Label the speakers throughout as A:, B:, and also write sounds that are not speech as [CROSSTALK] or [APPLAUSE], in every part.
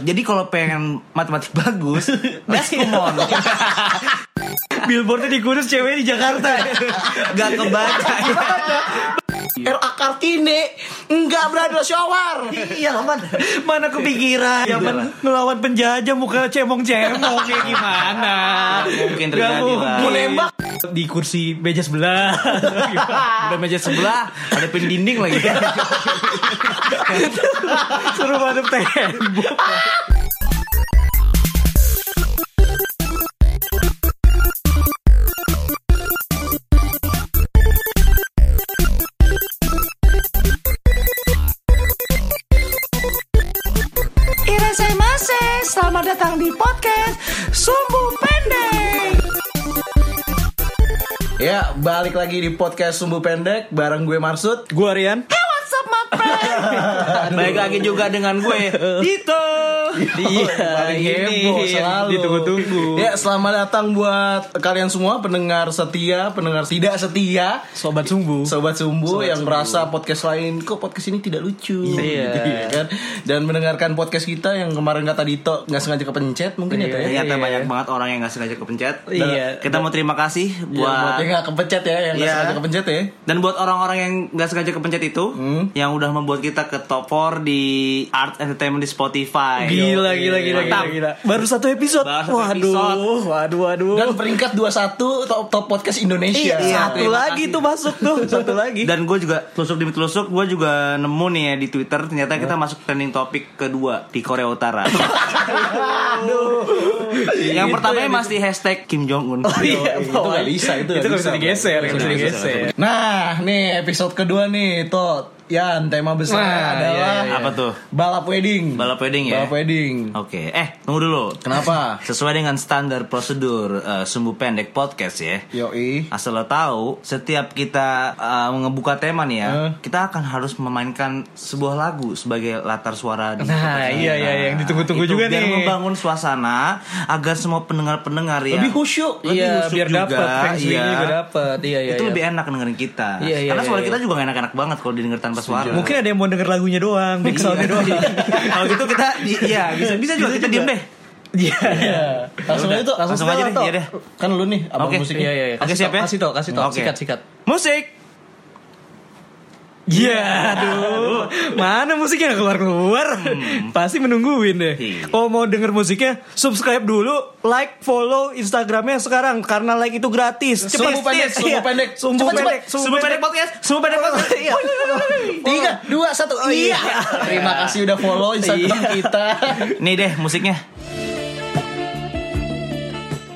A: Jadi kalau pengen matematik
B: [LAUGHS]
A: bagus,
B: Iya.
A: Daskumon. Billboardnya di Kudus, cewek di
C: [LAUGHS]
A: Jakarta.
C: Iya
A: Gak kebaca.
B: Iya. RA Kartini enggak berada syawar.
A: Iya, mana, mana kepikiran.
B: Iya.
C: Zaman ngelawan penjajah muka cemong-cemong kayak gimana?
A: mungkin terjadi,
C: Nggak mungkin.
A: Bang.
B: Menembak.
C: di kursi meja [LAUGHS] sebelah.
A: Udah meja sebelah, ada pendinding lagi.
B: Iya.
C: Suruh madep tembok.
B: Irasai Mase, selamat datang di podcast Sumbu Pendek. Ya, balik lagi di podcast Sumbu Pendek bareng gue Marsud.
C: Gua Rian.
B: What's up, my friend?
A: Baik lagi juga dengan gue, Dito.
B: Iya.
C: Iya,
B: Paling heboh selalu.
C: Ditunggu-tunggu.
B: Ya, selamat datang buat kalian semua pendengar setia, pendengar tidak setia.
C: Sobat sumbu.
B: Sobat Sumbu yang merasa podcast lain kok podcast ini tidak lucu
A: Iya.
B: [LAUGHS] kan dan mendengarkan podcast kita yang kemarin kata Dito nggak sengaja kepencet mungkin ya Teh, ya
A: Ternyata
C: Iya.
A: banyak banget orang yang gak sengaja kepencet.
C: Iya.
A: Kita mau terima kasih
B: Iya, buat
A: buat
B: yang nggak kepencet ya yang nggak
A: Iya.
B: sengaja kepencet ya
A: Dan buat orang-orang yang nggak sengaja kepencet itu,
C: Hmm.
A: yang udah membuat kita ke top 4 di Art Entertainment di Spotify.
C: Gila, gila, gila, gila,
A: Mantap.
C: gila. iya, Baru satu episode.
A: Baru satu
C: waduh,
A: episode.
C: waduh, waduh.
B: dan peringkat 21 top top podcast Indonesia
C: Iya, satu
A: terima
C: lagi tuh masuk [LAUGHS] tuh, satu lagi.
A: Dan gue juga telusuk demi telusuk, gue juga nemu nih ya di Twitter ternyata kita masuk trending topik kedua di Korea
C: [LAUGHS]
A: Utara. yang pertama masih hashtag Kim Jong Un.
C: Oh,
B: Iya, itu nggak bisa itu
C: itu
B: nggak
C: nggak bisa digeser, nggak bisa
A: Nggak bisa,
C: digeser.
B: nah nih episode kedua nih Tot Yan tema besar
C: Nah,
B: adalah
A: iya, iya. Apa tuh?
B: balap wedding
A: Balap wedding ya?
B: balap wedding
A: Oke, eh tunggu dulu.
B: kenapa
A: Sesuai dengan standar prosedur eh, sumbu pendek podcast ya.
B: Yoi
A: Asal lo tahu, setiap kita uh, ngebuka tema nih ya,
B: Eh.
A: kita akan harus memainkan sebuah lagu sebagai latar suara. Di
C: Nah,
A: podcast ini.
C: iya, iya, yang ditunggu-tunggu
A: itu
C: juga
A: biar
C: nih.
A: membangun suasana agar semua pendengar-pendengar yang
B: lebih khusyuk
C: Iya,
A: Lebih
C: biar
A: usuk
C: dapat
A: juga,
C: fans
A: iya.
C: juga dapat. Iya, iya.
A: itu
C: iya.
A: lebih enak dengerin kita.
C: Iya, iya,
A: Karena
C: iya,
A: suara
C: iya.
A: kita juga gak enak-enak banget kalau didengar tanpa suara. Iya.
C: Mungkin ada yang mau denger lagunya doang, back soundnya doang.
A: [LAUGHS] kalau gitu kita i- iya bisa bisa juga kita diem deh.
C: [LAUGHS] Iya.
B: Langsung aja tuh,
A: langsung aja deh,
B: Tok.
A: iya deh.
B: Kan lu nih abang
A: Oke,
C: Iya,
B: musiknya.
C: iya, iya.
A: Oke,
C: Kasih
A: siap
C: tau,
A: ya?
C: Kasih tau, kasih tau.
A: Oke.
C: Sikat, sikat.
A: Musik.
C: Iya, aduh. Mana musiknya nggak keluar-keluar? Pasti menungguin deh.
A: Iya.
C: Oh, mau denger musiknya? Subscribe dulu, like, follow Instagramnya sekarang karena like itu gratis. Cepet,
B: Sumbu pendek,
C: iya.
B: sumbu pendek.
C: sumbu
B: Cepet,
C: pendek,
B: cepet.
A: Sumbu pendek podcast, sumbu pendek podcast. Iya.
B: Tiga, dua, satu. iya. Terima kasih udah follow Instagram kita.
A: Nih deh musiknya.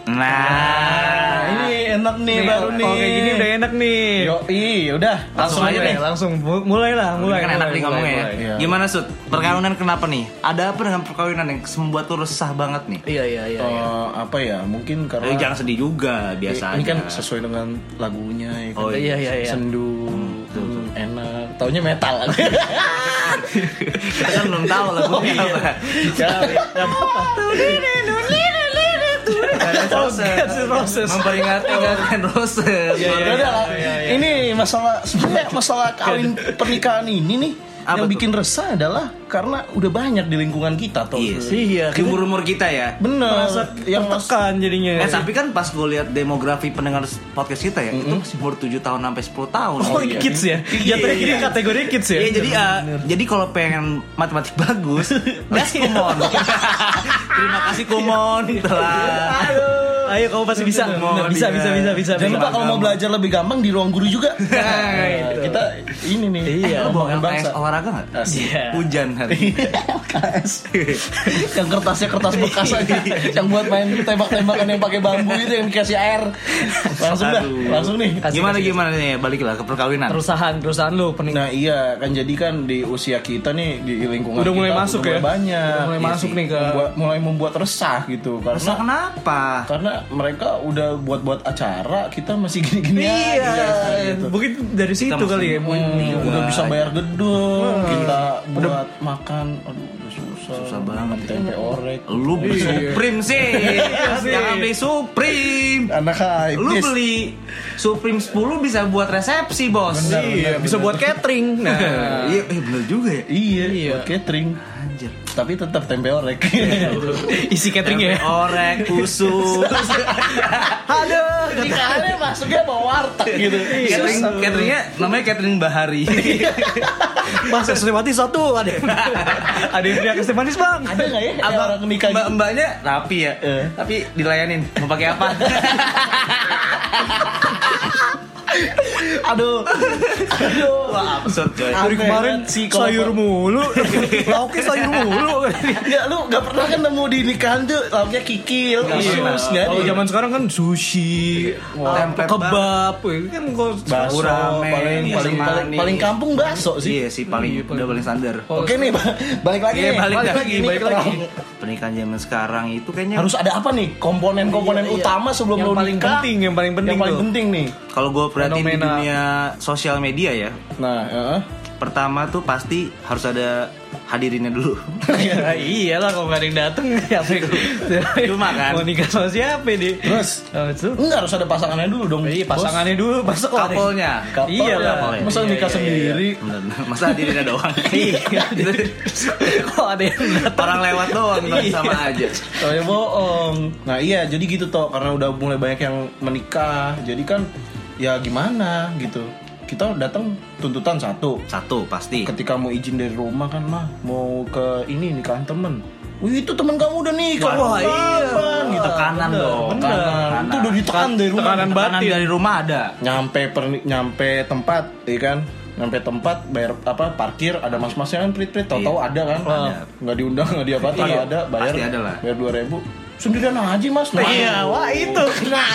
A: Nah,
B: Ini enak nih baru nih.
C: Oke, gini udah enak nih.
B: Yoi, udah.
A: Langsung aja
C: mulai,
A: deh.
C: langsung mu- mulailah, mulai.
A: kan enak nih ngomongnya ya.
B: mulai. Iya.
A: Gimana Sud? Perkawinan kenapa nih? Ada apa dengan perkawinan yang membuat lu resah banget nih?
C: Iya, iya, iya.
B: Eh, apa ya? Mungkin karena
A: Eh, jangan sedih juga, biasa
B: ini
A: aja.
B: kan sesuai dengan lagunya ya kan?
A: Oh,
C: Iya, iya, iya.
B: Sendu, hmm, enak. Taunya metal.
A: Kita kan belum tahu lagunya apa. Guns N'
C: Guns N' Roses.
A: Roses memperingati Iya, Guns N' Roses.
B: Ya udah lah. Ini masalah sebenarnya masalah kawin pernikahan ini nih
A: Apa
B: yang
A: tuh?
B: bikin resah adalah karena udah banyak di lingkungan kita toh.
A: Iya sih.
C: Iya,
A: Di umur-umur kita ya.
B: Bener.
C: Merasa
B: yang
C: tertekan
A: Eh
C: jadinya.
A: tapi kan pas gue lihat demografi pendengar podcast kita ya, itu masih umur 7 tahun sampai 10 tahun.
C: Oh, kids ya. Jatuhnya kini kategori kids ya.
A: Iya jadi eh, jadi kalau pengen matematik bagus, gas kumon. Terima kasih kumon telah.
C: Ayo kamu pasti bisa.
A: Bener,
C: Bisa, bisa, bisa, bisa.
B: Jangan lupa
A: Gampang.
B: kalau mau belajar lebih gampang di ruang guru juga. Nah, kita ini nih. eh,
C: Iya,
A: Lo bawa
B: ngomongin
A: LKS
B: [LAUGHS]
A: olahraga nggak?
C: Iya.
A: Hujan hari. ini.
B: LKS. yang kertasnya kertas bekas aja yang buat main tembak-tembakan yang pakai bambu itu yang dikasih air langsung dah
A: Aduh.
B: langsung nih
C: Kasih,
A: gimana
C: kasih,
A: gimana nih baliklah ke perkawinan.
C: Perusahaan, perusahaan lu pernikahan.
B: Nah iya kan jadi kan di usia kita nih di lingkungan
C: Udah mulai
B: kita
C: masuk ya?
B: udah mulai banyak
C: Udah mulai
B: Iya
C: masuk
B: sih.
C: nih ke-
B: Membuat- mulai membuat resah gitu karena
A: Terus kenapa?
B: karena mereka udah buat-buat acara kita masih gini-gini
C: Iya.
B: aja gitu.
C: Mungkin dari situ
A: mesti
C: kali ya.
B: Hmm,
A: Iya.
B: udah bisa bayar gedung
C: Hmm.
B: kita buat makan aduh udah susah
A: Susah banget ya.
B: tempe orek
A: Lu beli Supreme sih.
C: sih.
A: Jangan beli Supreme.
B: anak hype
A: Lu beli Supreme 10 bisa buat resepsi, Bos.
B: Benar,
C: Iya,
B: benar,
C: bisa
B: benar.
C: buat catering. Nah,
A: Iya, eh, bener juga ya.
B: Iya,
C: Iya.
B: buat catering.
A: Anjir.
B: Tapi tetap tempe orek.
C: [LAUGHS] isi catering [LAUGHS] ya.
A: Tempe Orek, usus.
C: Aduh,
B: Nikahannya masuknya bawa warteg gitu.
C: Iya.
A: Iya, catering,
B: Susah.
A: cateringnya namanya catering [LAUGHS] Bahari.
C: Mas es teh manis satu ada. yang- ada yang teriak es teh manis, Bang.
B: Ada nggak ya kayak orang
A: Abang,
B: nikah
A: mbak
B: gitu?
A: mbaknya rapi ya,
B: Eh.
A: tapi dilayanin mau pakai apa?
B: Aduh. Aduh.
A: [LAUGHS] Wah absurd coy.
B: Ah.
C: Dari
B: Apa
C: kemarin
B: enak sih kalau-
C: sayur [LAUGHS] mulu, Iya. lauknya sayur [LAUGHS] mulu.
B: Ya lu gak pernah kan nemu di nikahan tuh lauknya kikil,
A: Nggak
B: usus,
A: pernah.
B: nggak
C: Kalau
B: ada.
C: zaman sekarang kan sushi,
B: Oh,
A: Tempe
C: apa, kebab, kan kok
B: Baso,
A: ramen,
B: paling
A: iya,
B: paling
A: manis.
B: paling, paling kampung baso sih.
A: Iya sih paling udah paling standar.
B: Oke nih, ba- balik lagi
A: Iya
B: nih.
A: balik, lagi, Iya.
B: Ini
A: balik
B: kita
A: lagi. Pernikahan zaman sekarang itu kayaknya
B: Harus ada apa nih komponen-komponen utama sebelum
C: Iya, Yang
B: lu
C: paling
B: nikah?
C: penting, yang paling penting
B: Yang paling
C: tuh.
B: penting nih.
A: kalau gue perhatiin di
C: Fenomena.
A: dunia sosial media ya,
B: Nah, heeh.
A: pertama tuh pasti harus ada hadirinnya dulu.
C: Ya, iyalah kalau nggak ada yang dateng [LAUGHS] siapa yang
A: Cuma kan.
C: mau nikah sama siapa nih
B: Terus?
C: Oh, itu
B: Enggak harus ada pasangannya dulu dong.
C: Iya, pasangannya dulu masuk
A: Oh,
C: lah deh.
A: Couple-nya.
B: Couple
C: iya
B: ya.
C: lah
B: Masa
C: Iya,
B: nikah
C: iya,
B: sendiri?
A: Bener, masa [LAUGHS] hadirinnya doang?
C: Iya. [LAUGHS] kok ada yang datang
A: Orang lewat doang tapi sama aja.
B: Soalnya bohong. Nah iya, jadi gitu toh karena udah mulai banyak yang menikah. Jadi kan ya gimana gitu. Kita datang tuntutan satu.
A: Satu pasti.
B: Ketika mau izin dari rumah kan mah mau ke ini nikahan temen. Wih itu temen kamu udah nikah.
A: Wah, iya.
B: kapan? Gitu.
A: Tekanan dong.
B: Tekanan. Itu udah ditekan dari rumah.
C: Tekanan
A: Tekanan
C: batin.
A: dari rumah ada.
B: Nyampe perni- nyampe tempat, iya kan? Nyampe tempat bayar apa parkir ada mas-masnya kan prit-prit tahu-tahu
A: Iya.
B: ada kan
A: Ada.
B: nggak diundang nggak diapa-apa
A: Iya,
B: ada bayar
A: pasti ada lah.
B: bayar dua ribu sendirian aja mas Nah,
C: iya wah itu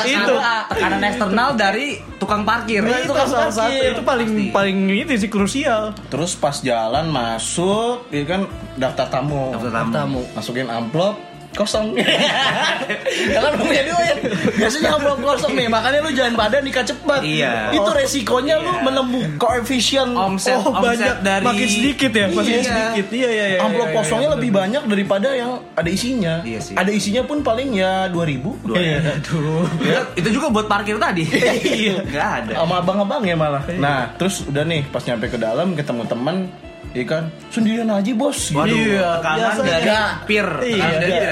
C: itu Nah,
A: tekanan eksternal dari tukang parkir.
B: Nah,
C: itu salah satu
B: Parkir.
C: itu paling
A: Pasti.
C: paling itu sih krusial
B: Terus pas jalan masuk, ya kan daftar tamu.
A: Daftar tamu.
C: tamu
B: Masukin amplop [LAUGHS] kosong. ya kan lu punya duit. Biasanya amplop kosong nih, makanya lu jangan pada nikah cepat.
A: Iya.
B: Itu resikonya lu menemuh koefisien
A: Omset,
C: oh
A: omset
C: banyak
A: dari
C: makin sedikit ya makin
A: Iya.
C: sedikit iya iya iya
B: amplop
C: iya, iya,
B: kosongnya
C: iya,
B: lebih
C: bener.
B: banyak daripada yang ada isinya.
A: Iya sih.
B: Ada isinya pun paling ya 2000.
A: Dua ribu.
C: iya. [LAUGHS]
B: Aduh.
A: Ya, itu juga buat parkir tadi. Iya, nggak ada.
B: Sama abang-abang ya malah.
C: Iya.
B: Nah, terus udah nih pas nyampe ke dalam ketemu teman, ya kan sendirian aja bos. Gitu.
A: Waduh,
C: Iya,
A: tekanan
C: biasa.
A: dari
B: Tiga.
A: peer, tekanan dari
C: Iya,
A: tiga,
C: iya, iya,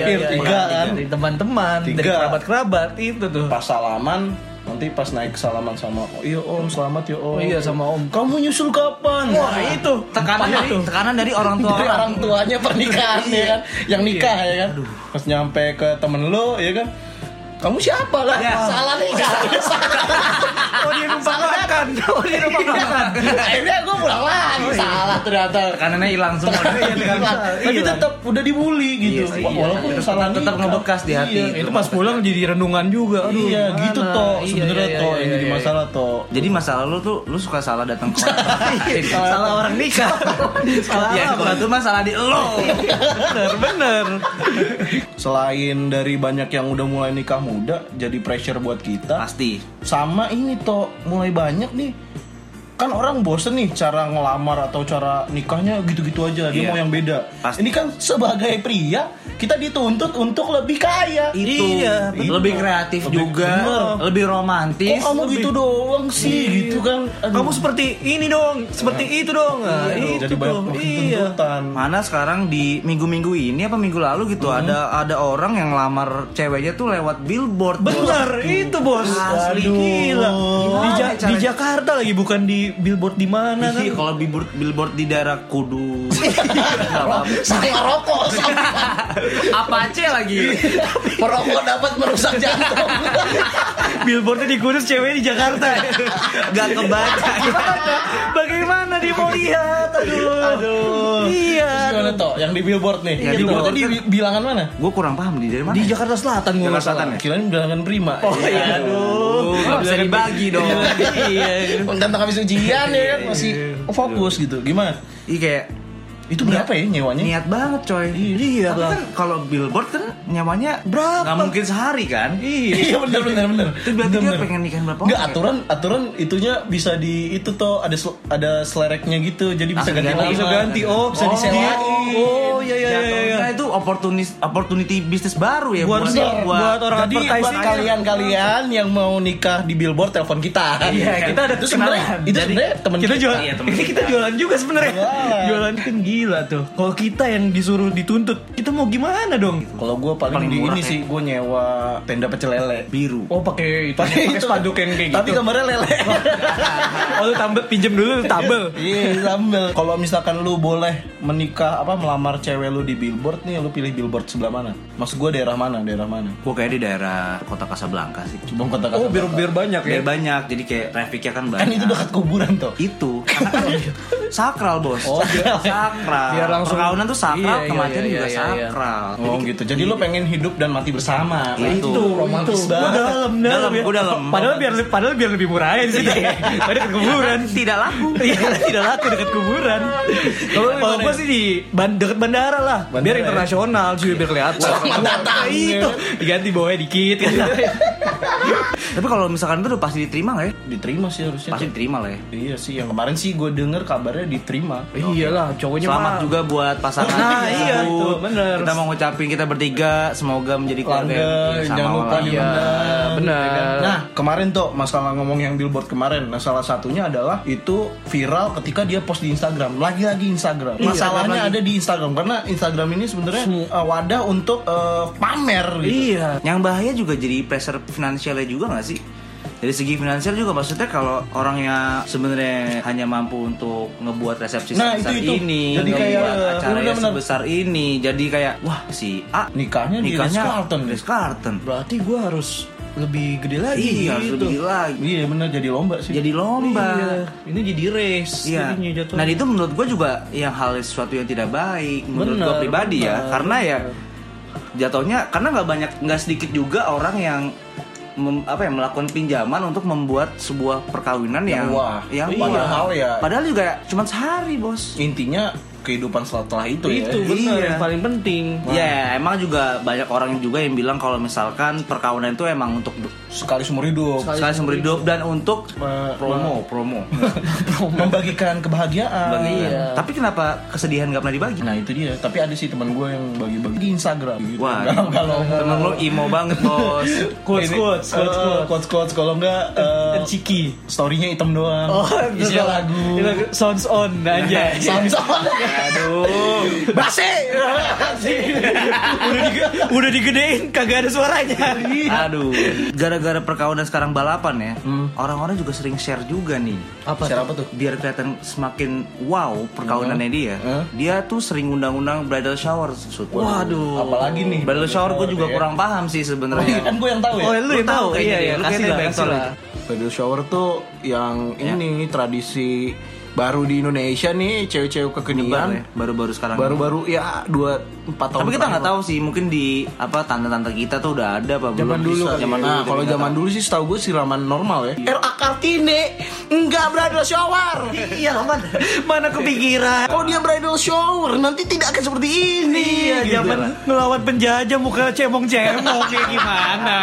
A: ya.
B: Peer,
C: iya,
B: tiga,
C: iya.
B: kan?
C: dari teman-teman dari
B: Tiga.
C: kerabat-kerabat itu tuh
B: pas salaman nanti pas naik salaman sama oh, iya om selamat ya
C: Oh,
B: om
C: iya, sama om.
B: kamu nyusul kapan
C: wah itu
A: Tekanan dari,
C: [LAUGHS] itu Iya,
A: tekanan dari orang tua
B: dari
A: orang. [LAUGHS]
B: orang
C: [LAUGHS]
B: tuanya pernikahan ya kan yang nikah
C: Iya.
B: ya kan pas nyampe ke temen lo ya kan kamu siapa lah
C: Iya.
A: Ya.
B: salah nikah
C: oh di rumah makan oh di rumah makan
B: akhirnya gue pulang
C: Oh,
B: lagi
C: iya.
B: salah ternyata
A: Iya. Tekanannya hilang semua.
B: Hilang. Iya. tapi
C: Hilang.
B: tetap udah dibully gitu
A: Iya sih, iya.
B: walaupun
A: Tetap-
B: salah
A: tetap
B: nikah.
A: ngebekas di hati.
B: Iya.
C: Eh, itu pas pulang jadi renungan juga aduh
B: iya
C: gimana?
B: gitu toh
C: Iya,
B: sebenarnya
C: iya,
B: toh
C: iya,
B: yang
C: iya,
B: jadi
C: iya.
B: masalah toh
A: Jadi masalah lu tuh lu suka salah datang ke
C: [LAUGHS] Iya, salah,
A: orang.
C: orang
A: [LAUGHS]
C: nikah salah Iya.
A: Ya,
C: apa?
A: itu masalah di lo.
C: bener bener
B: selain dari banyak yang udah mulai nikah muda jadi pressure buat kita
A: Pasti.
B: sama ini toh mulai banyak nih kan orang bosen nih cara ngelamar atau cara nikahnya gitu-gitu aja dia
A: Iya.
B: mau yang beda
A: Pasti.
B: ini kan sebagai pria kita dituntut untuk lebih kaya
A: Itu
C: Iya,
B: betul.
A: lebih kreatif
B: Lebih
A: juga,
B: bener.
A: lebih romantis.
B: kok kamu
A: lebih-
B: gitu doang sih gitu kan Aduh.
C: kamu seperti ini dong seperti itu dong Nah,
B: Aduh,
C: itu
B: jadi banyak
C: tuh.
B: makin
C: iya
B: tuntutan
A: Mana sekarang di minggu-minggu ini apa minggu lalu gitu
B: Hmm.
A: ada ada orang yang lamar ceweknya tuh lewat billboard.
C: bener itu bos
A: Asli.
C: gila di, Ja-
A: Gimana
C: di
A: caranya?
C: Jakarta lagi bukan di billboard di mana kan
A: Iya, kalau billboard billboard di daerah
B: [LAUGHS]
A: Kudu.
B: saya rokok sama
A: apa aja
B: [LAUGHS]
A: lagi?
B: merokok dapat merusak
A: [LAUGHS]
B: jantung
C: billboardnya di Kudus cewek di
B: [LAUGHS]
C: Jakarta
A: Gak kebaca.
C: bagaimana dia mau lihat aduh
B: Aduh.
C: iya
B: Terus gimana toh yang di billboard nih
A: Yang di
B: Itu
A: billboard
B: tadi
A: kan-
B: bi- bilangan mana
A: Gue kurang paham di dari mana.
C: di
A: ya?
C: Jakarta Selatan gue
A: Jakarta
C: masalah
A: Selatan ya?
B: Kirain bilangan prima.
C: Oh, iya,
A: Aduh, nggak bisa dibagi
B: [LAUGHS]
A: dong.
C: iya
B: Tentang habis ujian ya kan masih fokus oh, gitu. Gimana?
A: Iya kayak
B: Itu berapa ya nyewanya?
A: Niat banget coy.
C: Iya,
A: Tapi
C: Bang.
A: kan kalau billboard kan nyawanya
C: Berapa?
A: Gak mungkin sehari kan?
B: Iya benar benar benar.
A: Itu berarti dia pengen nikahin berapa
B: Enggak
A: orang ya?
B: aturan aturan itunya bisa di itu toh ada sel- ada selereknya gitu. Jadi bisa
A: Langsung
B: ganti
A: ganti.
B: nama.
A: Langsung
C: ganti. Oh,
B: bisa
C: oh,
B: disewain.
C: gitu. Oh, iya, iya, iya,
A: Jatuhnya
C: iya.
A: Nah, itu opportunity opportunity bisnis baru ya
C: Buat
A: buat,
C: ini, buat orang
B: Jadi buat
C: advertising.
B: kalian-kalian yang mau nikah di billboard telepon kita. Kan?
A: Iya, kita ada
B: itu sebenarnya
A: kenalan.
B: itu
A: Jadi,
B: sebenarnya teman
C: kita jualan
A: Iya, temen
C: ini
A: kita.
C: kita jualan juga sebenarnya
B: Jualan.
C: jualan kan gila tuh kalau kita yang disuruh dituntut kita mau gimana dong
B: Kalau gue paling,
A: Paling
B: di
A: murah
B: ini
A: ya.
B: sih gue nyewa tenda pecel lele.
A: biru.
C: oh pakai itu
B: Pakai
C: pakai
B: itu.
C: spanduk yang kayak
B: Tapi
C: gitu
B: gambarnya lele.
C: [LAUGHS] oh lu tambel pinjem dulu lu tambel
B: Iya, sambil. Kalau misalkan lu boleh menikah apa melamar cewek lu di billboard nih, lu pilih billboard sebelah mana? Maksud gue daerah mana? Daerah mana?
A: Gue kayak di daerah kota Casablanca sih.
B: Coba kontak
C: oh biar biar banyak ya
A: Biar banyak, jadi kayak trafficnya kan banyak.
B: Kan itu dekat kuburan tuh.
A: itu Karena kan sakral bos
B: Oh, iya.
A: sakral
C: Iya. Biar langsung-
A: perkawinan tuh sakral
C: Iya, iya,
A: kematian
C: iya,
A: juga
C: iya, iya.
A: sakral
B: Oh gitu. Jadi lu pengen hidup dan mati bersama. Nah,
A: Iya,
B: Itu,
A: itu,
B: romantis
C: Gua
B: banget.
C: dalam,
A: Dalam,
C: ya.
A: gua dalam.
C: Padahal biar padahal biar lebih murah aja [LAUGHS] sih. Padahal ke kuburan.
A: tidak laku
C: Iya, tidak laku dekat kuburan. Kalau kalau gua sih di ban- dekat bandara lah.
B: Bandara
C: biar
B: ya.
C: internasional sih biar kelihatan. Wah, itu diganti bawahnya dikit gitu.
A: tapi kalau misalkan itu udah pasti diterima nggak ya
B: Diterima sih harusnya.
A: pasti diterima lah ya
B: Iya sih, yang kemarin sih gue denger kabarnya diterima.
C: Iyalah, cowoknya
A: Selamat
C: mah-
A: juga buat
B: [LAUGHS]
A: pasangan
C: Nah,
B: Ah,
C: iya,
A: Bu.
C: itu bener.
A: Kita mau ngucapin kita bertiga Semoga menjadi keluarga yang
B: Langgan,
A: bersama
B: Eh, jangan lupa
A: lagi.
C: Iya,
B: diundang,
C: benar.
B: ya kan? Nah, kemarin tuh masalah ngomong yang billboard kemarin. Nah, salah satunya adalah itu viral ketika dia post di Instagram. Lagi-lagi Instagram.
A: Iya,
B: Masalahnya
A: lagi.
B: ada di Instagram karena Instagram ini sebenarnya
C: Semu-
B: uh, wadah untuk uh, pamer gitu.
C: Iya.
A: Yang bahaya juga jadi pressure finansialnya juga nggak sih? Dari segi finansial juga maksudnya kalau orangnya sebenarnya hanya mampu untuk ngebuat resepsi
B: Nah,
A: sebesar
B: itu- itu.
A: ini,
B: Jadi
A: ngebuat
B: kayak,
A: acara
B: iya
A: yang
B: benar-benar.
A: sebesar ini, jadi kayak wah si A
B: Nikahnya di Ritz Carlton.
A: Ritz Carlton.
C: Berarti gua harus lebih gede lagi.
A: Iya, harus
C: gitu.
A: lebih lagi.
B: Iya, bener jadi lomba sih.
A: Jadi lomba.
C: Iya. Ini jadi race
A: Iya.
C: jadinya jatuhnya.
A: Nah itu menurut gue juga yang hal sesuatu yang tidak baik menurut
B: Benar,
A: gue pribadi ya,
B: benar,
A: karena ya jatuhnya karena nggak banyak nggak sedikit juga orang yang mem- apa ya melakukan pinjaman untuk membuat sebuah perkawinan yang
B: Yang wah.
A: yang
B: Iya.
A: wah.
B: Padahal ya.
A: padahal juga cuma sehari bos.
B: intinya kehidupan setelah itu,
C: itu
B: ya.
C: benar
A: Iya.
C: yang paling penting.
A: Ya emang juga banyak orang juga yang bilang kalau misalkan perkawinan itu emang untuk
B: Sekali seumur hidup.
A: sekali seumur hidup dan untuk
B: Ma-
A: promo promo.
B: Membagikan kebahagiaan.
C: iya.
A: Bagian. kan. Tapi kenapa kesedihan nggak pernah dibagi?
B: Nah itu dia. Tapi ada sih teman gue yang bagi-bagi di Instagram. Gitu.
A: Wah,
B: Galau-galau.
A: temen lo imo banget bos.
C: Quotes,
B: Ini,
C: quotes,
B: eh,
C: quotes, quotes.
B: quotes, quotes. Kalau enggak eh,
C: Dan Ciki.
B: story-nya hitam doang.
C: Oh,
B: isinya lagu.
C: Sounds on aja.
B: [LAUGHS] Samson.
A: Aduh.
B: Base.
C: [LAUGHS] udah, dige- udah digedein kagak ada suaranya. Iya.
A: Aduh, gara-gara perkawinan sekarang balapan ya,
B: Hmm.
A: orang-orang juga sering share juga nih.
C: Apa?
B: Share apa tuh?
A: Biar kelihatan semakin wow perkawinannya dia.
B: Hmm.
A: Dia tuh sering undang-undang bridal shower. Sud.
C: Waduh.
B: Apalagi nih.
A: Bridal shower gue juga
B: ya.
A: kurang paham sih
B: Iya,
A: sebenarnya.
B: Kan gue yang tahu ya.
C: Oh, lu yang tahu.
A: kayaknya
C: Iya,
A: deh.
C: iya,
A: Lu
C: kasih
A: kayaknya
C: lah,
A: yang
C: kasih
A: tahu.
C: lah.
B: Bridal shower tuh yang ini tradisi baru di Indonesia nih cewek-cewek
A: Nyebar ya,
B: kekinian
A: baru-baru sekarang.
B: baru-baru ya dua empat Iya. tahun
A: Tapi kita nggak
B: terakhir.
A: tahu sih, mungkin di apa tante-tante kita tuh udah ada apa
B: Zaman
A: belum?
B: dulu
A: Bisa,
B: kan. nah,
A: kita
B: kalau
A: nggak [LAUGHS]
B: zaman
A: tahu.
B: dulu sih setahu gue siraman normal ya. R.A. Kartini enggak bridal shower.
C: Iya, aman. Mana kepikiran.
B: Kalau dia bridal shower nanti tidak akan seperti ini.
C: Iya,
B: gitu.
C: zaman ngelawan penjajah muka cemong-cemong kayak gimana?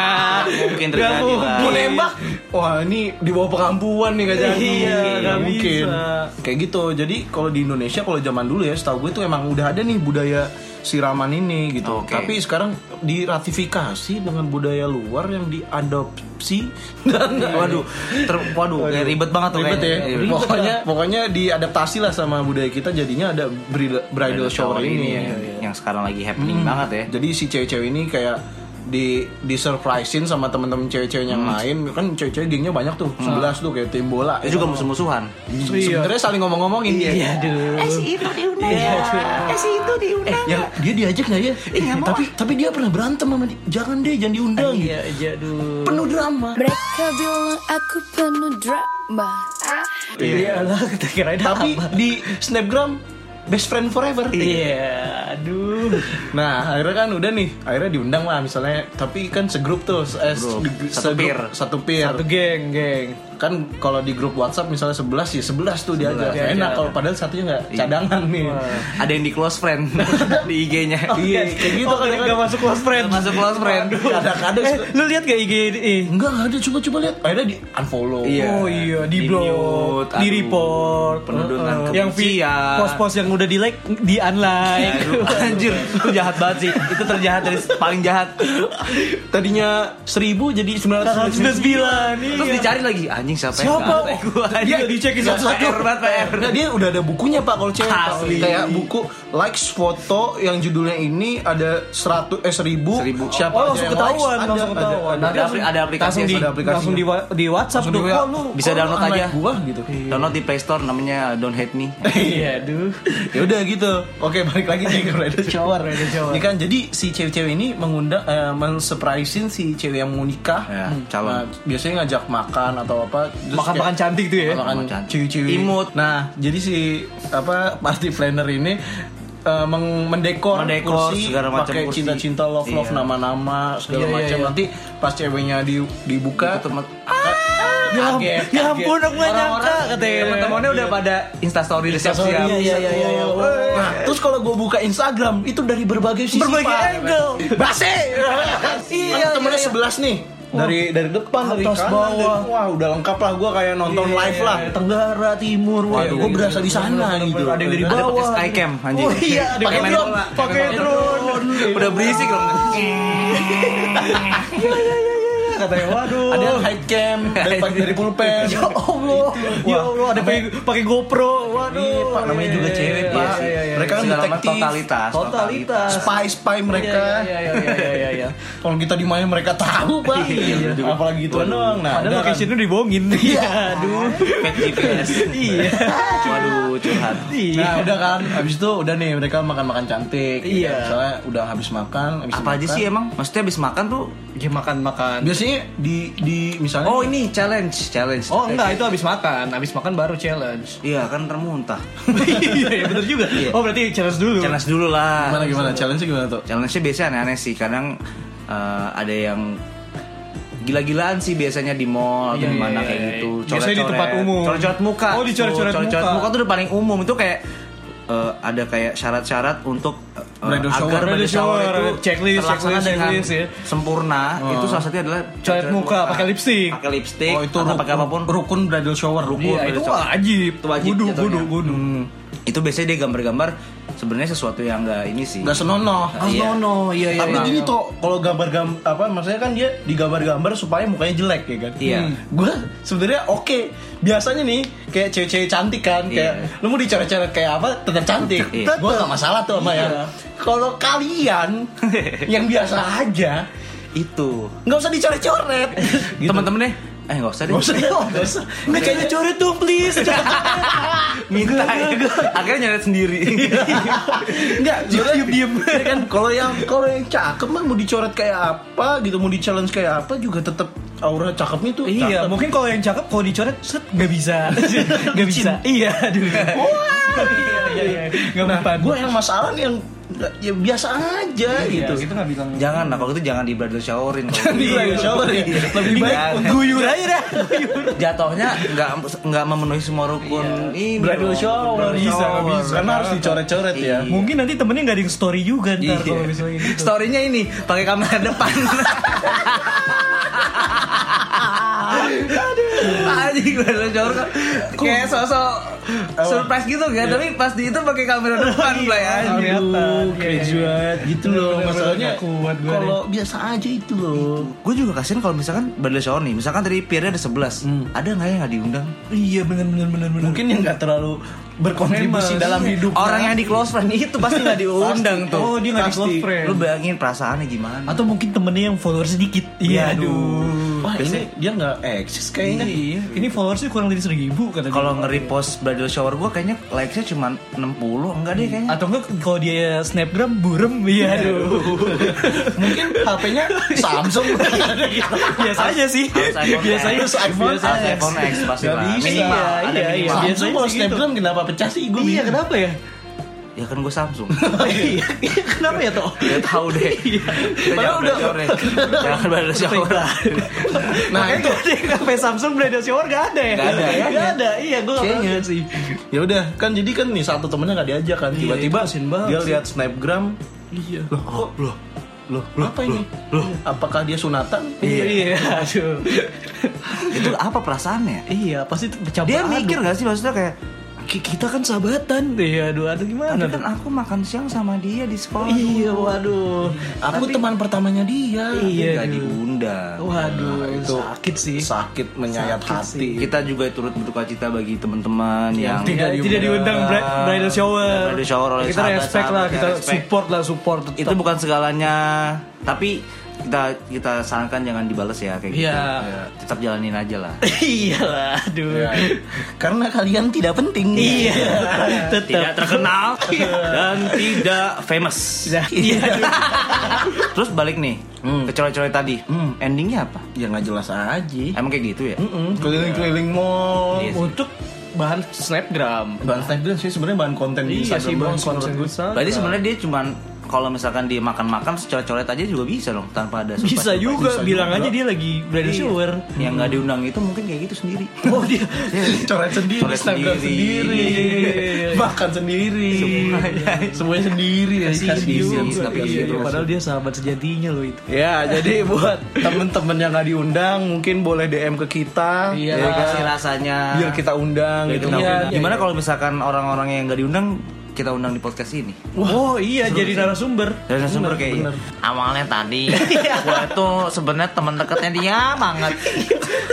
A: mungkin terjadi, Bang.
B: Mau nembak? Wah ini di bawah pengampuan nih gak jadi.
C: Iya, nggak
B: mungkin.
C: bisa.
B: Kayak gitu. Jadi kalau di Indonesia kalau zaman dulu ya, setahu gue tuh emang udah ada nih budaya siraman ini gitu.
A: Oke.
B: Tapi sekarang diratifikasi dengan budaya luar yang diadopsi [LAUGHS] dan
A: Waduh, ter- waduh, kayak Iya, ribet iya, banget tuh
B: Ribet
A: kayaknya.
B: ya. Pokoknya pokoknya diadaptasi lah sama budaya kita jadinya ada bridal, bridal shower ini.
A: ya,
B: Iya, iya.
A: yang sekarang lagi happening banget ya.
B: Eh, Jadi si cewek-cewek ini kayak di di surprisein sama temen-temen cewek-cewek yang lain kan cewek-cewek gengnya banyak tuh 11 tuh kayak tim bola ya kan?
A: Itu juga musuh-musuhan.
B: sebenarnya saling ngomong-ngomongin Ya,
C: Iya, aduh.
D: Eh si itu diundang
C: Iya.
D: ya. Eh si itu diundang
B: Ya, dia diajak nggak ya?
D: nggak mau
B: tapi tapi dia pernah berantem sama dia. Jangan deh, jangan diundang.
C: Iya, aja aduh.
B: Penuh drama.
E: Mereka bilang aku penuh drama
C: Iya lah, kita kirain
B: Tapi
C: apa.
B: di Snapgram best friend forever.
C: Iya, aduh.
B: Nah, akhirnya kan udah nih, akhirnya diundang lah misalnya. Tapi kan segrup tuh, eh,
A: Grup.
B: di-
A: Satu
B: segrup,
A: peer.
B: satu peer.
C: Satu geng, geng.
B: kan kalau di grup WhatsApp misalnya 11 ya 11 tuh dia aja.
A: dia
B: Enak
A: aja.
B: kalau padahal satunya nggak
A: Iya.
B: cadangan nih.
A: Ada yang di close friend [LAUGHS] di IG-nya.
B: Iya, kayak gitu
C: Oh, kalian
B: kadang-kadang.
C: nggak masuk [LAUGHS] close friend.
A: Masuk close friend.
B: Kadang-kadang
C: Eh, lu lihat gak IG ini?
B: enggak enggak ada coba coba lihat. Akhirnya di unfollow.
A: Iya.
C: Oh iya, di,
A: Di
C: blog,
A: mute,
C: di
A: aduh.
C: report,
A: Penuduhan
C: Uh-uh. yang vi-
A: kebencian. Iya,
C: post-post yang udah di like di unlike.
A: Aduh, anjir, itu jahat banget sih. Itu terjahat dari paling jahat.
B: Tadinya 1000 jadi
C: 199
A: Terus
C: iya.
A: dicari lagi anjing siapa,
C: Siapa?
A: yang gua
C: Dia dicekin satu-satu.
A: PR banget PR.
B: Nah, dia udah ada bukunya Pak kalau cewek Pak.
A: Asli.
B: kayak buku likes foto yang judulnya ini ada 100 eh 1000
A: Seribu.
B: siapa
C: Oh,
B: aja
C: langsung
B: yang
C: ketahuan,
B: likes,
C: langsung
B: ada,
C: ketahuan.
B: ada,
A: Ada,
B: ada.
A: apli- ada aplikasi
C: langsung di,
A: ada
B: aplikasinya.
C: langsung di, wa- di WhatsApp
B: Langsung
C: dong.
B: di
C: Wah,
B: WA.
C: lu.
A: Bisa
B: Oh,
A: download
B: unlike
A: aja. Iya,
B: gua
A: [LAUGHS]
B: gitu.
A: Download di Play Store namanya Don't Hate Me.
C: Iya, duh.
B: [LAUGHS] ya udah gitu oke balik lagi nih ke Rider Shower
C: Rider Shower.
B: Ini kan jadi si cewek-cewek ini mengundang eh, mensurprisein si cewek yang mau nikah
A: Ya,
B: Hmm.
A: calon.
B: Nah, biasanya ngajak makan atau apa terus
C: Makan-makan
B: kayak-
C: cantik tuh ya.
B: makan
A: Makan
B: cewek-cewek
A: Imut.
B: nah jadi si apa party planner ini eh, meng- mendekor,
A: Mendekor,
B: kursi
A: segala macam
B: pakai
A: kursi.
B: cinta-cinta love love
A: Iya.
B: nama-nama segala
C: Iya, iya,
B: macam
C: iya.
B: nanti pas ceweknya di, dibuka
A: Teman
C: Ya, am-
B: Kaget,
C: ya
B: kaget.
C: ampun, aku gak nyangka
B: Orang-orang,
C: katanya.
A: teman-temannya udah pada Insta Story
B: Sorry,
A: siap-siap. Oh,
B: iya, iya, iya, iya.
C: Oh,
B: Nah, terus kalau gue buka Instagram itu dari berbagai sisi.
C: Berbagai
B: Pak.
C: angle.
B: Basi.
C: Iya,
B: Iya,
C: iya,
B: temennya
C: iya.
B: sebelas nih. Dari dari depan dari
C: Atas,
B: kanan,
C: bawah.
B: dari- wah udah lengkap lah gue kayak nonton
C: Iya,
B: live
C: iya,
B: lah.
C: iya.
B: Tenggara, timur, wah
A: Waduh.
B: gue berasa di sana
C: Bener-bener,
B: gitu.
C: ada yang dari
B: [LAUGHS]
A: Ada pakai
C: Bawah.
A: skycam anjing.
C: Oh iya, ada
A: pakai
C: yang
A: main
C: drone,
A: bola.
C: pakai
A: main
C: drone.
A: bola. [LAUGHS] Udah berisik loh.
C: Katanya, waduh.
B: Ada yang high cam dari pagi dari pulpen.
C: [LAUGHS] Ya Allah, ya Allah ada pakai pakai GoPro. Waduh.
B: Iya, Pak, namanya juga cewek, Pak.
C: Iya, iya, iya,
B: Mereka kan
A: Segala macam
B: detektif.
A: totalitas,
C: Totalitas.
B: Spy spy mereka.
C: Iya, iya, iya, iya, iya, iya.
B: Kalau kita di mana mereka tahu, Pak.
A: Iya, bener juga.
B: Apalagi itu doang. Nah,
C: Padahal
B: udah kan.
C: location lu dibohongin. Iya, aduh.
A: Pet GPS.
C: Iya.
A: Waduh, curhat.
C: Iya.
B: Nah udah kan, habis itu udah nih mereka makan-makan cantik gitu.
C: Iya.
B: Misalnya udah habis makan, habis
A: Apa aja
B: makan.
A: sih emang? Maksudnya habis makan tuh
C: Dia makan-makan.
B: Biasanya di di misalnya
A: Oh, ini challenge, challenge.
C: Oh enggak, itu habis makan. Habis makan baru challenge.
A: Iya, kan termuntah. [LAUGHS]
C: Iya, bener juga. Oh, berarti challenge dulu.
A: Challenge dulu lah.
B: gimana gimana challenge gimana tuh?
A: Challenge-nya biasanya aneh-aneh sih. Kadang eh, ada yang gila-gilaan sih biasanya di mall atau
C: Iya,
A: di mana
C: iya,
A: kayak
C: iya.
A: gitu.
C: Biasanya di tempat umum.
A: Coret-coret muka.
C: Oh, di coret-coret
A: Tuh,
C: muka.
A: tuh udah paling umum. Itu kayak eh, ada kayak syarat-syarat untuk eh, agar
B: Bridal shower,
A: bridal
C: bridal
A: shower
C: shower,
A: itu
C: checklist,
A: terlaksana
C: checklist,
A: dengan
C: checklist, ya.
A: sempurna. Itu salah satunya adalah
C: Coret muka, pakai lipstick.
A: Pakai lipstick
B: oh itu
A: atau
B: rukun-
A: pakai apapun.
B: rukun bridal shower rukun.
C: Iya, itu
A: Itu
C: wajib.
A: Itu wajib iya.
C: Kudu,
A: jatuhnya.
C: kudu, kudu.
A: Itu biasanya dia gambar-gambar sebenarnya sesuatu yang enggak ini sih.
B: Gak senonoh.
A: Ah, iya.
C: Oh, no, iya, iya.
B: Tapi
C: iya.
B: gini tuh, kalau gambar-gambar apa maksudnya kan dia digambar-gambar supaya mukanya jelek ya kan?
A: Iya.
B: Gue sebenarnya oke. Biasanya nih kayak cewek-cewek cantik kan, kayak
A: Iya.
B: lu mau dicoret-coret kayak apa tetap cantik.
A: Iya.
B: Gue gak masalah tuh sama yang. Kalau kalian [LAUGHS] yang biasa aja,
A: Itu.
B: nggak usah [LAUGHS] dicoret-coret.
C: Gitu.
A: Teman-teman deh, eh enggak usah deh.
B: Gak usah, gak usah.
C: Nggak kayaknya coret dong, please.
A: minta ya. akhirnya nyeret
C: [LAUGHS]
A: sendiri
B: Enggak, diem diem. kan kalau yang kalau yang cakep mah mau dicoret kayak apa gitu, mau di challenge kayak apa juga tetap aura cakepnya tuh.
C: Iya,
B: cakep.
C: mungkin kalau yang cakep kalau dicoret set nggak
B: [LAUGHS]
C: bisa. Nggak bisa. Iya, aduh. Iya, iya. Nggak mempan.
B: Gue yang masalah nih yang ya biasa aja gitu.
C: Kita nggak bilang.
A: jangan lah kalau itu jangan di bridal showerin Kalau
B: Iya,
A: gitu.
B: shower ya. Lebih baik
A: Jangan.
B: untuk
C: Guyur aja dah.
A: jatuhnya nggak nggak memenuhi semua rukun ini
B: bridal
A: dong.
B: shower.
C: Iya. Nggak bisa, nggak bisa.
B: Karena harus dicoret-coret ya.
A: Iya.
C: Mungkin nanti temennya nggak ada yang story juga ntar kalau misalnya
A: Iya.
C: gitu.
A: Story-nya ini pakai kamera depan. Anjing bridal shower kan kayak sosok surprise gitu kan,
C: Iya.
A: tapi pas di itu pakai
C: [LAUGHS]
A: kamera depan play anjing.
C: Kelihatan.
B: Aduh,
C: Iya, iya,
B: cringe
C: iya.
B: banget. gitu loh
C: Bener-bener
B: masalahnya.
C: nggak kuat gua
B: Kalau biasa aja itu loh.
A: Gue juga kasihan kalau misalkan bridal shower nih, misalkan tadi piernya ada 11,
C: Hmm.
A: ada nggak yang nggak diundang?
C: Iya, benar benar benar benar.
B: Mungkin yang nggak terlalu berkontribusi
C: Famous.
B: dalam
C: Iya.
B: hidup.
A: Orang yang di close friend itu pasti nggak diundang
C: Pasti.
A: tuh.
C: Oh, dia nggak di
A: Pasti.
C: close friend.
A: Lu bayangin perasaannya gimana?
C: Atau mungkin temennya yang followers sedikit. Iya, aduh.
B: Wah ini dia nggak eksis kayaknya.
C: Iya, ini followersnya kurang dari seribu kata dia.
A: Kalau nge-repost bridal shower gue kayaknya likes-nya cuma 60 enggak deh kayaknya.
C: atau enggak kalau dia snapgram burem iya [LAUGHS] aduh
B: Mungkin
C: [LAUGHS]
B: HP-nya
C: Iya.
B: Samsung.
C: gitu. biasanya sih
A: Harus iPhone
C: biasanya
A: X.
C: sih iPhone
A: Harus iPhone X pasti
B: Nggak
A: lah.
B: bisa.
A: Minimal,
C: Iya,
A: ada
C: iya,
A: minimal.
C: iya.
B: Samsung
C: biasanya
B: kalau
C: sih gitu.
B: Snapgram kenapa pecah sih? Gue
C: iya kenapa ya
A: Ya ya kan gue
C: [LAUGHS]
A: Samsung
C: Iya, iya, Kenapa ya toh?
A: ya
C: Iya.
A: tahu
C: [LAUGHS]
A: deh kita
C: Padahal
A: jangan
C: udah-
A: belajar deh jangan belajar shower
B: Nah,
C: Makanya
B: itu.
C: tadi kafe Samsung Brand Shower gak ada ya?
A: Gak ada, ya?
C: Gak ada. Iya, gue gak
A: Kayaknya.
C: tahu sih.
B: ya udah kan jadi kan nih satu temennya nggak diajak kan
C: Iya,
B: tiba-tiba
C: itu kasihan banget
B: dia
C: sih.
B: lihat snapgram
C: Iya.
B: loh kok loh loh apa ini apakah dia sunatan
C: Iya, iya, [LAUGHS] aduh.
A: [LAUGHS] itu apa perasaannya
C: Iya, pasti itu bercampur
A: dia
C: aduk.
A: mikir gak sih maksudnya kayak
C: Ki- kita kan sahabatan. Iya, aduh, aduh gimana?
A: tapi kan aku makan siang sama dia di sekolah
C: Iya, waduh.
B: aku teman pertamanya dia
C: Iya,
A: Gak
C: aduh.
A: diundang
C: Waduh,
B: itu
C: sakit sih.
B: sakit menyayat
C: Sakit
B: hati gitu.
C: sih.
A: kita juga turut berduka cita bagi teman-teman yang,
C: tidak tidak diundang bri- bridal shower.
A: Bridal shower oleh
C: kita
A: sahabat-
C: respect lah,
A: sahabat,
C: kita
A: ya, respect.
C: support lah, support. [LAUGHS] tetap.
A: itu bukan segalanya tapi kita kita sarankan jangan dibales ya kayak gitu
C: Iya.
A: tetap jalanin aja lah
C: iya lah, aduh.
B: Iya. [LAUGHS] karena kalian tidak penting ya.
C: Iya,
A: tidak
C: tetap.
A: terkenal dan tidak famous
C: Iya. Iya.
A: terus balik nih ke cewek-cewek tadi
B: Hmm.
A: endingnya apa
B: ya nggak jelas aja
A: emang kayak gitu ya
C: Hmm.
B: Mm-mm, keliling-keliling mall
A: Iya.
C: Untuk bahan snapgram.
B: bahan snapgram sih sebenarnya bahan konten di
C: Iya sih,
B: Instagram
C: bahan
B: doang sih
C: konten
B: menurut gue.
C: Instagram.
A: berarti sebenarnya dia cuman kalau misalkan dia makan-makan secoret-coret aja juga bisa dong tanpa ada
C: bisa
A: sopan-sopan.
C: juga
B: bisa
C: bilang
B: juga.
C: aja dia lagi bridal shower.
A: yang nggak diundang itu mungkin kayak gitu sendiri
C: Oh dia.
B: coret sendiri,
A: Coret
B: Instagram
A: sendiri.
B: sendiri,
C: [LAUGHS] Iya.
B: makan sendiri,
A: Semuanya.
B: iya, semuanya sendiri ya
A: Kasihan juga,
C: Iya,
A: gitu.
C: padahal dia sahabat sejatinya loh itu.
B: Ya, [LAUGHS] jadi buat temen-temen yang nggak diundang, mungkin boleh DM ke kita,
C: Iya,
B: ya
A: ya,
B: kan?
A: kasih rasanya
B: biar kita undang
A: Biar
B: gitu.
A: kita
C: Iya,
A: undang.
C: iya,
A: gimana
C: iya.
A: kalau misalkan orang-orang yang nggak diundang kita undang di podcast ini
C: oh iya jadi narasumber.
A: Dan sumber kayaknya Iya.
D: Awalnya
A: [LAUGHS]
D: tadi gua tuh sebenarnya teman dekatnya dia banget.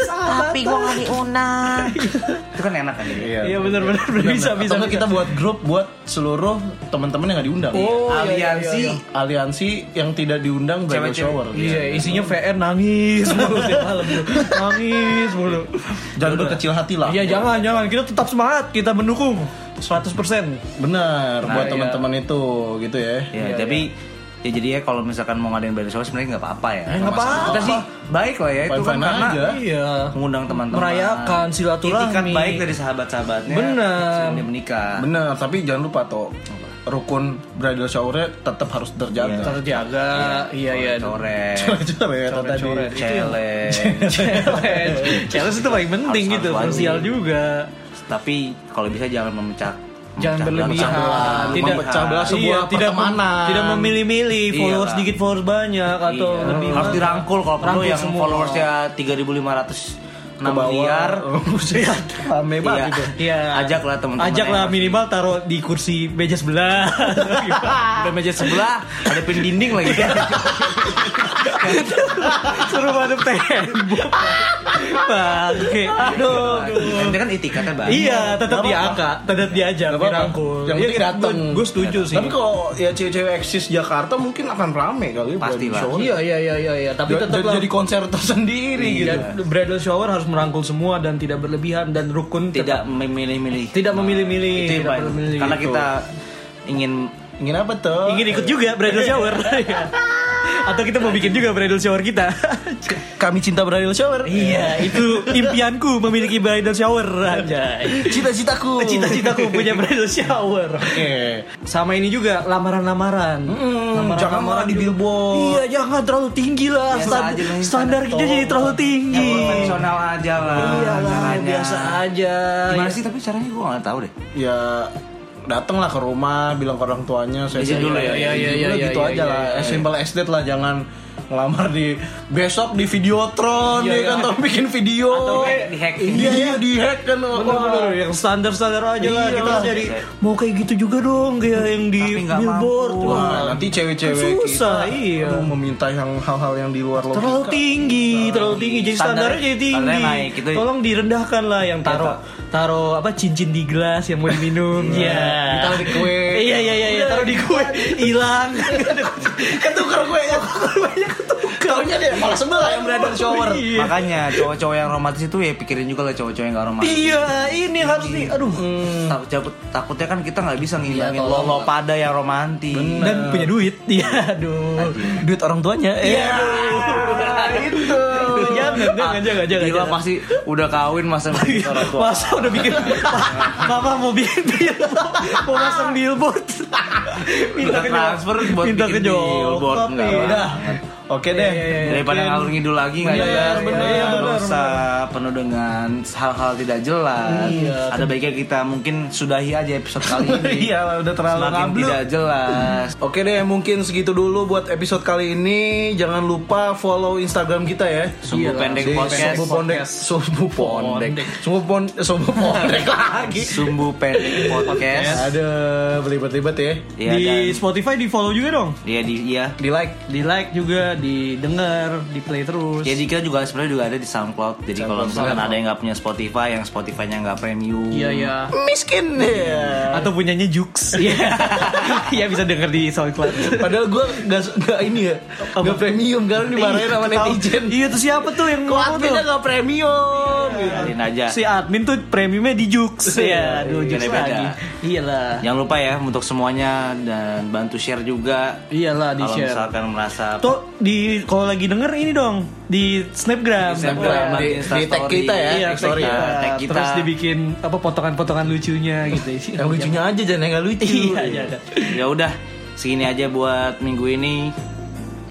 D: Tapi gua gak diundang.
A: itu kan enak kan ya
C: Iya benar benar bisa bisa.
B: Atau nggak
C: bisa.
B: kita buat grup buat seluruh temen-temen yang nggak diundang.
C: Oh, iya, iya,
A: aliansi
C: iya.
B: Aliansi yang tidak diundang bridal
A: Cewek-cewek.
B: shower.
C: Iya, isinya VR nangis mulu tiap [LAUGHS] malam tuh. Nangis mulu.
B: Jangan berkecil hati lah.
C: Iya, jangan jangan kita tetap semangat, kita mendukung 100%.
B: Benar,
A: Nah,
B: buat
A: iya.
B: teman-teman itu gitu ya.
C: Iya,
A: ya tapi ya jadi ya kalau misalkan mau ngadain bridal shower sebenarnya nggak apa-apa ya
C: Eh, nggak apa-apa.
A: kita sih baik lah ya itu kan
B: Fine-fine
A: karena
B: aja.
C: Iya.
A: mengundang teman-teman
C: Merayakan silaturahmi.
A: Itikat baik dari sahabat-sahabatnya
C: Benar.
A: sebelum dia menikah
B: Benar, tapi jangan lupa toh rukun bridal shower tetap harus terjaga.
C: Terjaga. Iya, iya.
A: coret
B: Coret-coret ya, tadi.
C: Coret-coret.
A: challenge
C: [LAUGHS] Challenge. Challenge itu paling penting
A: Harus-
C: gitu,
A: harus
C: krusial
A: wajib.
C: juga.
A: tapi kalau bisa jangan memecah
C: Jangan
A: memecah belah-
C: berlebihan.
A: memecah belah,
C: Tidak-
A: memecah belah.
B: Iya, sebuah
C: tidak
B: pertemanan.
C: tidak memilih-milih
A: Iya,
C: followers
A: Kak.
C: sedikit followers banyak atau
A: Iya.
C: lebih
A: harus
C: mana.
A: dirangkul kalau perlu
C: Rangkul
A: yang
C: semua.
A: followersnya 3.500 enam miliar
B: Buset, rame banget
A: Iya.
B: itu.
C: Oh, Iya.
A: Ajaklah teman-teman
C: Ajaklah
A: yang-
C: minimal taruh di kursi meja sebelah.
A: dan meja sebelah ada pin dinding lagi
C: Suruh madep tembok. [LAUGHS] Bangke. Aduh.
A: Kan dia kan itikatnya baik
C: Iya, tetap
B: Gak apa-apa.
C: diangkat, tetap diajak,
B: Gak apa-apa.
C: dirangkul. Iya,
B: Yang penting dateng.
C: Gue setuju sih.
B: Tapi kalau ya cewek-cewek eksis Jakarta mungkin akan rame kali ya,
A: Pastilah.
B: bridal shower.
C: Iya, iya, iya, iya, iya. Tapi
B: Ja-
C: tetap
B: jadi, jadi konser tersendiri gitu.
C: Iya. Bridal shower harus merangkul semua dan tidak berlebihan dan rukun tetap
A: tidak memilih-milih
C: Tidak memilih-milih,
A: itu yang
C: tidak
A: paling-
C: memilih. Gitu.
A: karena
C: Betul.
A: kita ingin
B: Ingin apa tuh?
C: ingin ikut juga bridal shower Iya. atau kita mau bikin juga bridal shower kita
B: Kami cinta bridal shower.
C: iya itu impianku memiliki bridal shower aja
B: Cita-citaku.
C: cita-citaku punya bridal shower
B: Oke.
C: sama ini juga lamaran-lamaran Lamaran-lamaran
B: jangan malah di
C: juga.
B: billboard.
C: iya jangan terlalu tinggi lah
A: Biasa
C: Stan-
A: aja lah,
C: standar,
A: ini
C: kita jadi terlalu tinggi
A: yang konvensional aja lah
C: iyalah
A: caranya.
C: biasa aja
A: gimana sih tapi caranya gue nggak tahu deh
B: Ya datanglah ke rumah bilang ke orang tuanya saya
A: Izin dulu ya,
C: iya, iya,
B: Udah
C: iya,
B: gitu
C: iya,
B: aja
C: iya,
B: lah
C: iya,
B: as simple as that lah jangan ngelamar di besok di Videotron
C: Iya,
B: ya
C: iya.
B: kan atau bikin video
A: Atau kayak di-hack.
B: iya iya di hack kan
C: Bener-bener yang standar-standar aja lah kita
B: Iyalah.
C: dari mau kayak gitu juga dong kayak yang di
A: Tapi nggak
C: billboard
A: mampu.
C: Wah,
B: Wah, nanti cewek-cewek
C: Susah,
B: kita
C: iya.
B: aduh, meminta yang hal-hal yang di luar logika.
C: terlalu tinggi terlalu tinggi jadi
A: Standar-
C: standarnya jadi tinggi
A: standarnya naik, gitu.
C: tolong direndahkan lah yang taruh taruh apa cincin di gelas yang mau diminum ya [LAUGHS]
B: Ditaruh di kue.
C: iya iya iya iya, taruh di kue hilang
B: Ketukar gue ya. Taunya dia malah sebelah yang berada di shower.
C: Iya.
A: makanya cowok-cowok yang romantis itu ya pikirin juga lah cowok-cowok yang gak romantis
C: iya ini harus di aduh
B: Iya.
A: Tak- takut- takutnya kan kita nggak bisa ngimbangin lolo pada yang romantis
C: dan punya duit iya aduh
B: Duit orang tuanya. Iya. Itu. Iya,
C: jangan jangan jangan jangan
A: Ah, Gila
C: jangan.
A: pasti udah kawin
B: [LAUGHS]
A: masa
C: Iya.
A: masih orang tua.
C: Masa udah bikin Mama mau bikin bil- Mau pasang billboard
A: Minta
C: ke
A: transfer
C: nyokap.
A: buat
C: Minta ke
A: bikin
C: nyokap,
A: billboard enggak
C: iya.
A: banget.
B: Oke deh.
A: Daripada
B: Iya, Mungkin-
A: ngalur ngidul lagi nggak
B: Iya,
A: jelas,
B: bener,
A: ya,
B: bener,
A: dosa penuh dengan hal-hal tidak jelas. Ada baiknya kita mungkin sudahi aja episode kali ini.
B: [LAUGHS] Iya, udah terlalu
A: Semakin
B: ngablu.
A: tidak jelas.
B: Oke deh, mungkin segitu dulu buat episode kali ini. Jangan lupa follow Instagram kita ya.
A: Sumbu
B: Iya,
A: Pendek
B: di
A: Podcast.
B: Sumbu Pondek. Sumbu Pondek. Sumbu Pon- Sumbu [LAUGHS] Pondek lagi.
A: Sumbu pendek podcast.
B: Ada belibet-libet ya.
A: Iya,
C: di
A: dan-
C: Spotify di follow juga dong.
A: Iya di iya.
B: Di like.
C: Di like juga, didengar, di play terus.
A: Jadi kita Ya, juga sebenarnya juga ada di SoundCloud. Jadi kalau misalkan ada yang nggak punya Spotify, yang Spotify-nya nggak premium,
C: Iya iya.
B: Miskin ya.
C: Atau punyanya Jux. [LAUGHS] Iya. Iya bisa denger di SoundCloud.
B: Padahal gue gak, gak ini ya Gak premium Karena dimarahin sama netizen
C: Iya tuh siapa tuh yang
B: Kok
C: ngomong
B: adminnya
C: tuh?
B: gak premium
A: dengerin aja.
C: Si admin tuh premiumnya di Jux. Iya, aduh Jux
A: Beda-beda.
C: lagi. Iyalah.
A: Jangan lupa ya untuk semuanya dan bantu share juga.
C: Iyalah di
A: Kalau
C: share.
A: misalkan merasa
C: Tuh di kalau lagi denger ini dong di Snapgram. Oh,
A: Di Snapgram, di
B: Di- di
A: Instastory.
B: tag kita ya,
C: Iya,
B: tag
C: tag
B: story
C: kita.
A: ya, tag kita.
C: Terus dibikin apa potongan-potongan lucunya gitu sih.
B: Yang lucunya aja Jangan yang gak lucu
C: Iya, iya, iya.
A: Ya udah, segini aja buat minggu ini.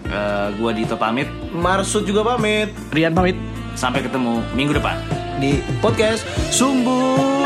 A: Eh, gua Dito pamit.
B: Marsud juga pamit
C: Rian pamit.
A: Sampai ketemu minggu depan.
B: Di podcast Sumbu